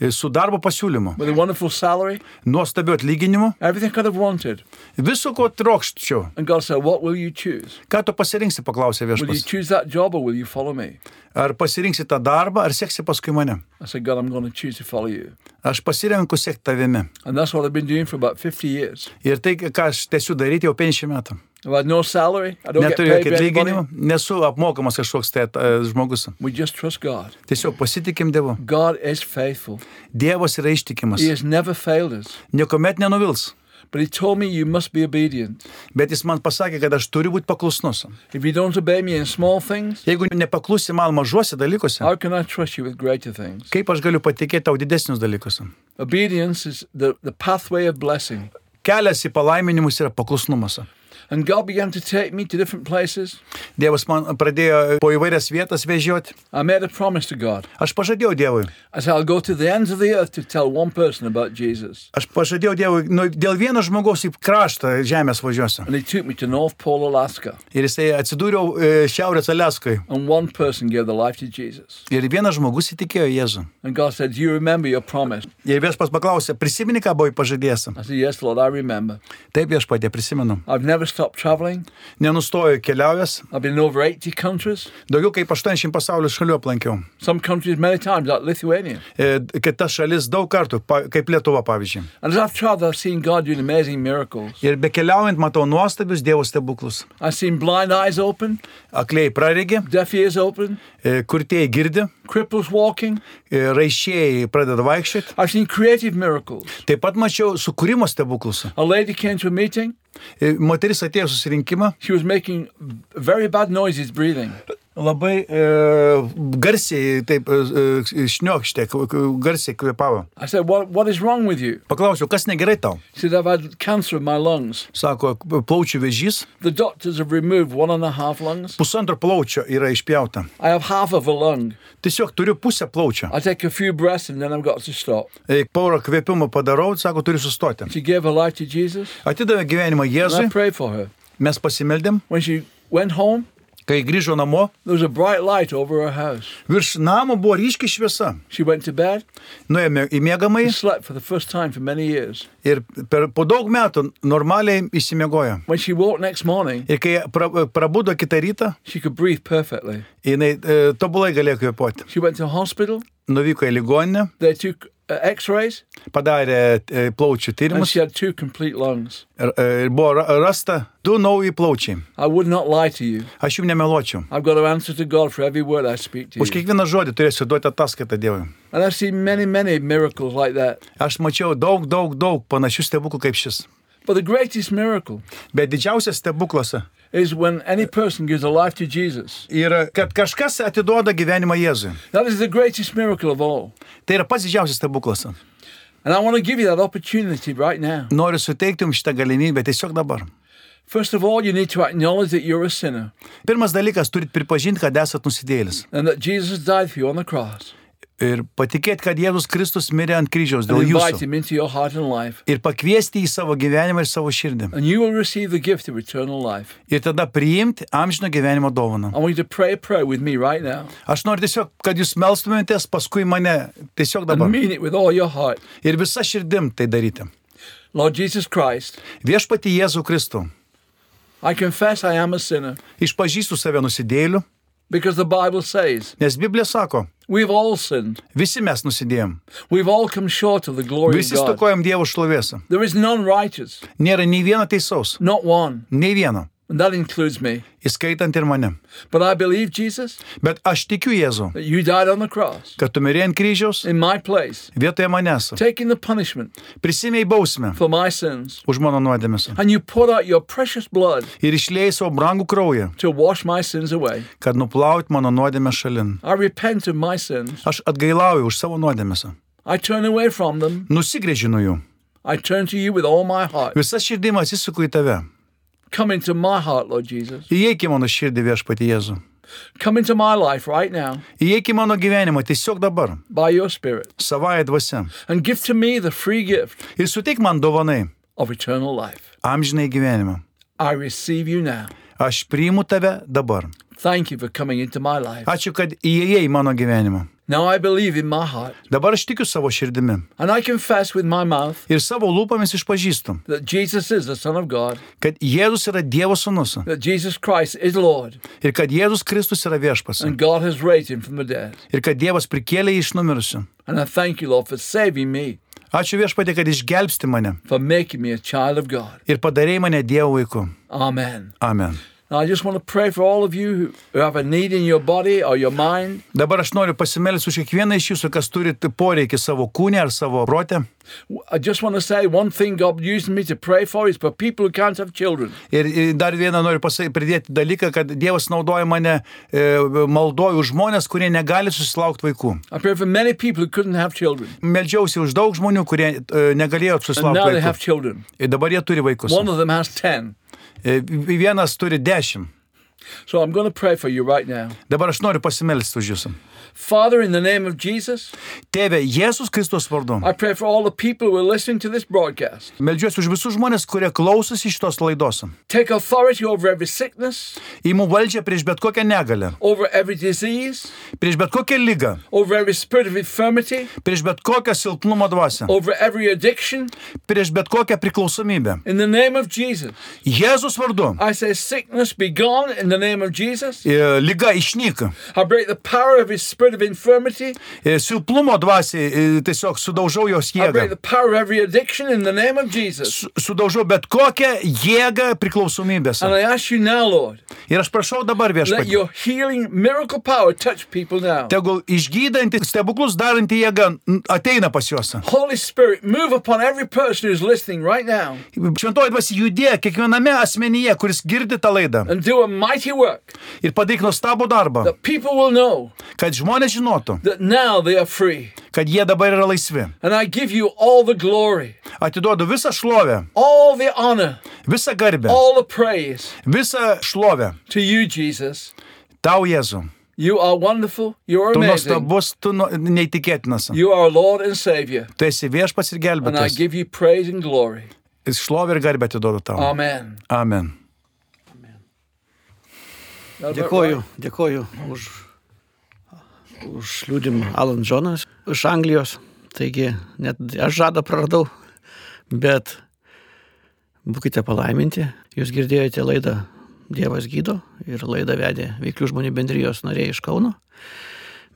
Speaker 2: E, Su darbo pasiūlymu,
Speaker 3: with a wonderful salary,
Speaker 2: nuostabiu atlyginimu,
Speaker 3: everything I could have wanted.
Speaker 2: viso ko trokščiau.
Speaker 3: And God said, What will you choose?
Speaker 2: Ką tu pasirinksi, paklausė
Speaker 3: Will you
Speaker 2: viešpas.
Speaker 3: choose that job or will you follow me?
Speaker 2: Ar pasirinksi tą darbą, ar seksi paskui mane?
Speaker 3: I said, God, I'm going to choose to follow you.
Speaker 2: Aš pasirenku sekti tavimi.
Speaker 3: And that's what I've been doing for about 50 years.
Speaker 2: Ir tai, ką aš tęsiu daryti jau 50 metų.
Speaker 3: I've had no salary. I don't
Speaker 2: Neturiu
Speaker 3: get paid
Speaker 2: jokio
Speaker 3: by anybody.
Speaker 2: atlyginimo, nesu apmokamas kažkoks tai e, žmogus.
Speaker 3: We just trust God.
Speaker 2: Tiesiog pasitikim Dievu.
Speaker 3: God is faithful.
Speaker 2: Dievas yra ištikimas.
Speaker 3: He has never failed us.
Speaker 2: Niekuomet nenuvils.
Speaker 3: But He told me you must be obedient.
Speaker 2: Bet jis man pasakė, kad aš turiu būti paklusnus.
Speaker 3: If you don't obey me in small things,
Speaker 2: Jeigu nepaklusi man mažuose dalykuose,
Speaker 3: how can I trust you with greater things?
Speaker 2: kaip aš galiu patikėti tau didesnius dalykus?
Speaker 3: Obedience is the, the pathway of blessing.
Speaker 2: Kelias į palaiminimus yra paklusnumas.
Speaker 3: And God began to take me to different places.
Speaker 2: Dievas man pradėjo po įvairias vietas vežioti.
Speaker 3: I made a promise to God.
Speaker 2: Aš pažadėjau Dievui.
Speaker 3: I said, I'll go to the ends of the earth to tell one person about Jesus.
Speaker 2: Aš pažadėjau Dievui, nu, dėl vieno žmogaus į kraštą žemės važiuosiu.
Speaker 3: And He took me to North Pole, Alaska.
Speaker 2: Ir jisai atsidūriau e, Šiaurės Aleskoje.
Speaker 3: And one person gave their life to Jesus.
Speaker 2: Ir vienas žmogus įtikėjo Jėzų.
Speaker 3: And God said, Do you remember your promise?
Speaker 2: Ir viešpas paklausė, prisimeni, ką buvai pažadėjęs.
Speaker 3: I said, Yes, Lord, I remember.
Speaker 2: Taip viešpatė, prisimenu.
Speaker 3: I've never stopped traveling.
Speaker 2: Nenustoju keliaujęs,
Speaker 3: I've been in over 80 countries,
Speaker 2: daugiau kaip 80 pasaulio šalių aplankiau.
Speaker 3: some countries many times, like Lithuania.
Speaker 2: E, Kitas šalis daug kartų, pa, kaip Lietuva pavyzdžiui.
Speaker 3: And as I've traveled, I've seen God doing amazing miracles.
Speaker 2: Ir bekeliaujant matau nuostabius Dievo stebuklus.
Speaker 3: I've seen blind eyes open,
Speaker 2: Akliai praregi,
Speaker 3: deaf ears open,
Speaker 2: e, kurtieji girdi,
Speaker 3: cripples walking.
Speaker 2: e, raišėjai pradeda vaikščioti.
Speaker 3: I've seen creative miracles.
Speaker 2: Taip pat mačiau sukūrimo stebuklus.
Speaker 3: A lady came to a meeting.
Speaker 2: E, Moteris atėjo į susirinkimą,
Speaker 3: She was making very bad noises breathing.
Speaker 2: labai e, garsiai, taip, e, e, šniokštė, k- k- garsiai kvepavo.
Speaker 3: I said, what, what is wrong with you?
Speaker 2: Paklausiau, kas negerai tau?
Speaker 3: She said, I've had cancer in my lungs.
Speaker 2: Sako, plaučių vėžys,
Speaker 3: The doctors have removed one and a half lungs.
Speaker 2: pusantro plaučio yra išpjauta.
Speaker 3: I have half of a lung.
Speaker 2: Tiesiog turiu pusę plaučio.
Speaker 3: I take a few breaths and then I've got to stop.
Speaker 2: E, Porą kvėpimų padarau, sako, turiu sustoti.
Speaker 3: She gave her life to Jesus.
Speaker 2: Atidavė gyvenimą
Speaker 3: And I
Speaker 2: Jėzui,
Speaker 3: prayed for her.
Speaker 2: mes pasimeldėm,
Speaker 3: When she went home,
Speaker 2: kai grįžo namo,
Speaker 3: there was a bright light over her house.
Speaker 2: virš namo buvo ryški šviesa.
Speaker 3: She went to bed
Speaker 2: Nuėjome į mėgamai
Speaker 3: and slept for the first time for many years.
Speaker 2: ir per, po daug metų normaliai įsimiegojo.
Speaker 3: When she woke next morning,
Speaker 2: Ir kai pra, prabudo kitą rytą,
Speaker 3: she could breathe perfectly.
Speaker 2: jinai e, tobulai galėjo kvėpuoti.
Speaker 3: She went to hospital.
Speaker 2: Nuvyko į ligoninę,
Speaker 3: They took uh, x-rays
Speaker 2: padarė e, plaučių
Speaker 3: and
Speaker 2: tyrimus
Speaker 3: she had two complete lungs.
Speaker 2: ir, e, ir buvo ra- rasta du nauji plaučiai.
Speaker 3: I would not lie to you.
Speaker 2: Aš jums nemeločiau.
Speaker 3: I've got to answer to God for every word I speak to
Speaker 2: Už
Speaker 3: you.
Speaker 2: kiekvieną žodį turėsiu duoti ataskaitą Dievui.
Speaker 3: And I've seen many, many miracles like that.
Speaker 2: Aš mačiau daug, daug, daug panašių stebuklų kaip šis.
Speaker 3: But the greatest miracle
Speaker 2: Bet didžiausias stebuklas
Speaker 3: is when any person gives their life to Jesus.
Speaker 2: yra, kad kažkas atiduoda gyvenimą Jėzui.
Speaker 3: That is the greatest miracle of all.
Speaker 2: Tai yra pats didžiausias stebuklas.
Speaker 3: And I want to give you that opportunity right now.
Speaker 2: Noriu suteikti jums šitą galimybę tiesiog dabar.
Speaker 3: First of all, you need to acknowledge that you're a sinner
Speaker 2: Pirmas dalykas, turit pripažinti, kad esat nusidėlis.
Speaker 3: and that Jesus died for you on the cross
Speaker 2: Ir patikėti, kad Jėzus Kristus mirė ant kryžiaus
Speaker 3: and
Speaker 2: dėl
Speaker 3: invite
Speaker 2: jūsų.
Speaker 3: him into your heart and life.
Speaker 2: Ir pakviesti į savo gyvenimą ir savo širdį.
Speaker 3: And you will receive the gift of eternal life.
Speaker 2: Ir tada priimti amžino gyvenimo dovaną.
Speaker 3: I want you to pray a prayer with me right now
Speaker 2: Aš noriu tiesiog, kad jūs melstumėtės paskui mane. Tiesiog
Speaker 3: and
Speaker 2: dabar.
Speaker 3: mean it with all your heart.
Speaker 2: Ir visa širdim tai daryti.
Speaker 3: Lord Jesus Christ,
Speaker 2: Viešpati Jėzų Kristų.
Speaker 3: I confess I am a sinner
Speaker 2: Išpažįstu save nusidėliu,
Speaker 3: because the Bible says
Speaker 2: nes Biblija sako,
Speaker 3: we've all sinned.
Speaker 2: visi mes nusidėjom.
Speaker 3: We've all come short of the glory of
Speaker 2: Visi
Speaker 3: God.
Speaker 2: stokojam Dievo šlovėsą.
Speaker 3: There is none righteous,
Speaker 2: Nėra nei vieno teisaus.
Speaker 3: not one,
Speaker 2: Nei vieno.
Speaker 3: and that includes me.
Speaker 2: Įskaitant ir mane.
Speaker 3: But I believe, Jesus,
Speaker 2: Bet aš tikiu Jėzų,
Speaker 3: that you died on the cross
Speaker 2: kad tu mirėjai ant kryžiaus
Speaker 3: in my place,
Speaker 2: vietoje manęs.
Speaker 3: taking the punishment
Speaker 2: Prisimėjai bausmę
Speaker 3: for my sins,
Speaker 2: už mano nuodėmes.
Speaker 3: and you poured out your precious blood
Speaker 2: Ir išleidai savo brangų kraują,
Speaker 3: to wash my sins away.
Speaker 2: kad nuplaut mano nuodėmę šalin.
Speaker 3: I repent of my sins.
Speaker 2: Aš atgailauju už savo nuodėmes.
Speaker 3: I turn away from them.
Speaker 2: Nusigrėžinu jų.
Speaker 3: I turn to you with all my heart.
Speaker 2: Visa širdim atsisuku į tave.
Speaker 3: Come into my heart, Lord Jesus.
Speaker 2: Įeik į mano širdį viešpati Jėzų.
Speaker 3: Come into my life right now
Speaker 2: Įeik į mano gyvenimą tiesiog dabar,
Speaker 3: by your Spirit
Speaker 2: savai dvasia.
Speaker 3: and give to me the free gift
Speaker 2: Ir suteik man dovanai
Speaker 3: of eternal life.
Speaker 2: amžinai gyvenimą.
Speaker 3: I receive you now.
Speaker 2: Aš priimu tave dabar.
Speaker 3: Thank you for coming into my life.
Speaker 2: Ačiū, kad įėjai į mano gyvenimą.
Speaker 3: Now I believe in my heart
Speaker 2: Dabar aš tikiu savo širdimi
Speaker 3: and I confess with my mouth
Speaker 2: ir savo lūpomis išpažįstu,
Speaker 3: that Jesus is the Son of God,
Speaker 2: kad Jėzus yra Dievo sūnus
Speaker 3: that Jesus Christ is Lord,
Speaker 2: ir kad Jėzus Kristus yra viešpas
Speaker 3: and God has raised him from the dead.
Speaker 2: ir kad Dievas prikėlė jį iš numirusių.
Speaker 3: And I thank you, Lord, for saving me,
Speaker 2: Ačiū viešpatė, kad išgelbsti mane
Speaker 3: for making me a child of God.
Speaker 2: ir padarėjai mane Dievo vaiku.
Speaker 3: Amen.
Speaker 2: Amen.
Speaker 3: Now I just want to pray for all of you who- who have a need in your body or your mind.
Speaker 2: Dabar aš noriu pasimelsti už kiekvieną iš jūsų, kas turi poreikį savo kūnę ar savo protę.
Speaker 3: I just want to say one thing God used me to pray for is for people who can't have children.
Speaker 2: Ir, ir dar vieną noriu pasa- pridėti dalyką, kad Dievas naudoja mane e, maldoju už žmonės, kurie negali susilaukti vaikų.
Speaker 3: I pray for many people who couldn't have children.
Speaker 2: Meldžiausi už daug žmonių, kurie e, negalėjo
Speaker 3: And now
Speaker 2: susilaukti
Speaker 3: they have
Speaker 2: vaikų.
Speaker 3: children.
Speaker 2: Ir dabar jie turi vaikus.
Speaker 3: One of them has 10.
Speaker 2: E, Vienas turi dešimt.
Speaker 3: So I'm going to pray for you right now.
Speaker 2: Dabar aš noriu pasimelsti už jūsų.
Speaker 3: Father, in the name of Jesus,
Speaker 2: Tėve, Jėzus Kristus vardu.
Speaker 3: I pray for all the people who are listening to this broadcast.
Speaker 2: Meldžiuosi už visus žmonės, kurie klausosi šitos laidos.
Speaker 3: Take authority over every sickness,
Speaker 2: Įimu valdžią prieš bet kokią negalę,
Speaker 3: over every disease,
Speaker 2: prieš bet kokią lygą,
Speaker 3: over every spirit of infirmity,
Speaker 2: prieš bet kokią silpnumo dvasę,
Speaker 3: over every addiction.
Speaker 2: prieš bet kokią priklausomybę.
Speaker 3: In the name of Jesus,
Speaker 2: Jėzus vardu.
Speaker 3: I say sickness be gone in the name of Jesus.
Speaker 2: E, Liga išnyka.
Speaker 3: I break the power of every spirit of infirmity.
Speaker 2: E, Silpnumo dvasiai e, tiesiog sudaužau jos
Speaker 3: I break
Speaker 2: jėgą.
Speaker 3: the power of every addiction in the name of Jesus.
Speaker 2: Su- Sudaužau bet kokią jėgą priklausomybės.
Speaker 3: And I ask you now, Lord,
Speaker 2: Ir aš prašau dabar
Speaker 3: let
Speaker 2: viešpatį.
Speaker 3: your healing miracle power touch people now.
Speaker 2: Tegul išgydanti, stebuklus daranti jėga n- ateina pas juos.
Speaker 3: Holy Spirit, move upon every person who's listening right now
Speaker 2: Šventoji dvasia judėja kiekviename asmenyje, kuris girdi tą laidą.
Speaker 3: and do a mighty work
Speaker 2: Ir padaryk nuostabų darbą,
Speaker 3: that people will know
Speaker 2: kad žmonės žinotų,
Speaker 3: that now they are free.
Speaker 2: kad jie dabar yra laisvi.
Speaker 3: And I give you all the glory,
Speaker 2: Atiduodu visą šlovę,
Speaker 3: all the honor,
Speaker 2: visą garbę,
Speaker 3: all the praise
Speaker 2: visą šlovę
Speaker 3: to you, Jesus.
Speaker 2: tau, Jėzu.
Speaker 3: You are wonderful. You are
Speaker 2: Tu
Speaker 3: amazing.
Speaker 2: nuostabus, tu nu, neįtikėtinas.
Speaker 3: You are Lord and Savior.
Speaker 2: Tu esi viešpas ir
Speaker 3: And I
Speaker 2: gelbėtas.
Speaker 3: give you praise and glory.
Speaker 2: Šlovę ir garbę atiduodu tau.
Speaker 3: Amen.
Speaker 2: Amen.
Speaker 3: That about
Speaker 1: Dėkoju,
Speaker 3: right?
Speaker 1: dėkoju už, už liūdimą Alan Jonas iš Anglijos. Taigi, net aš žadą praradau, bet būkite palaiminti. Jūs girdėjote laidą Dievas gydo ir laidą vedė Veiklių žmonių bendrijos nariai iš Kauno.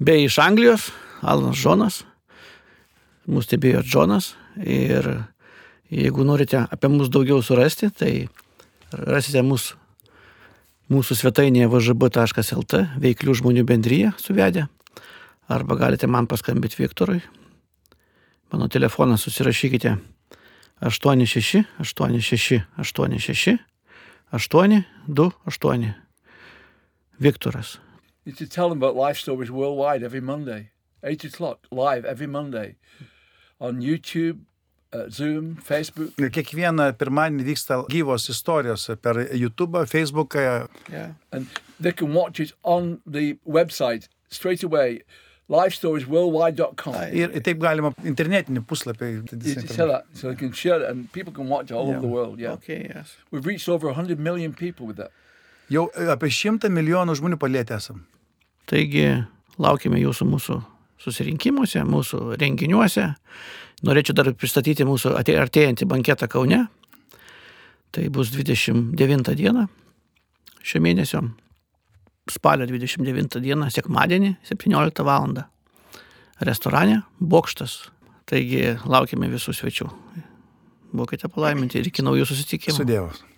Speaker 1: Bei iš Anglijos Alanas Jonas, mūsų stebėjo Jonas. Ir jeigu norite apie mus daugiau surasti, tai rasite mūsų mūsų svetainėje vžb.lt veiklių žmonių bendryje suvedę. Arba galite man paskambinti Viktorui. Mano telefoną susirašykite 86 86 86 828. Viktoras.
Speaker 3: You should tell them about Life Stories Worldwide every Monday, 8 o'clock, live every Monday on YouTube, uh, Zoom, Facebook.
Speaker 2: Ir Kiekvieną pirmadienį vyksta gyvos istorijos per YouTube, Facebooką.
Speaker 3: Yeah. And they can watch it on the website straight away, lifestoriesworldwide.com.
Speaker 2: Ir taip galima internetinį puslapį.
Speaker 3: You just tell that so they can share it and people can watch it all over the world. Yeah.
Speaker 1: Okay, yes.
Speaker 3: We've reached over 100 million people with that.
Speaker 2: Jau apie šimtą milijonų žmonių palėtę esam.
Speaker 1: Taigi laukime jūsų mūsų susirinkimuose, mūsų renginiuose. Norėčiau dar pristatyti mūsų atė- artėjantį banketą Kaune. Tai bus 29 diena šio mėnesio, spalio 29 diena, sekmadienį, 17 val. Restorane Bokštas. Taigi laukime visų svečių. Būkite palaiminti ir iki naujų susitikimų.
Speaker 2: Su Dievas.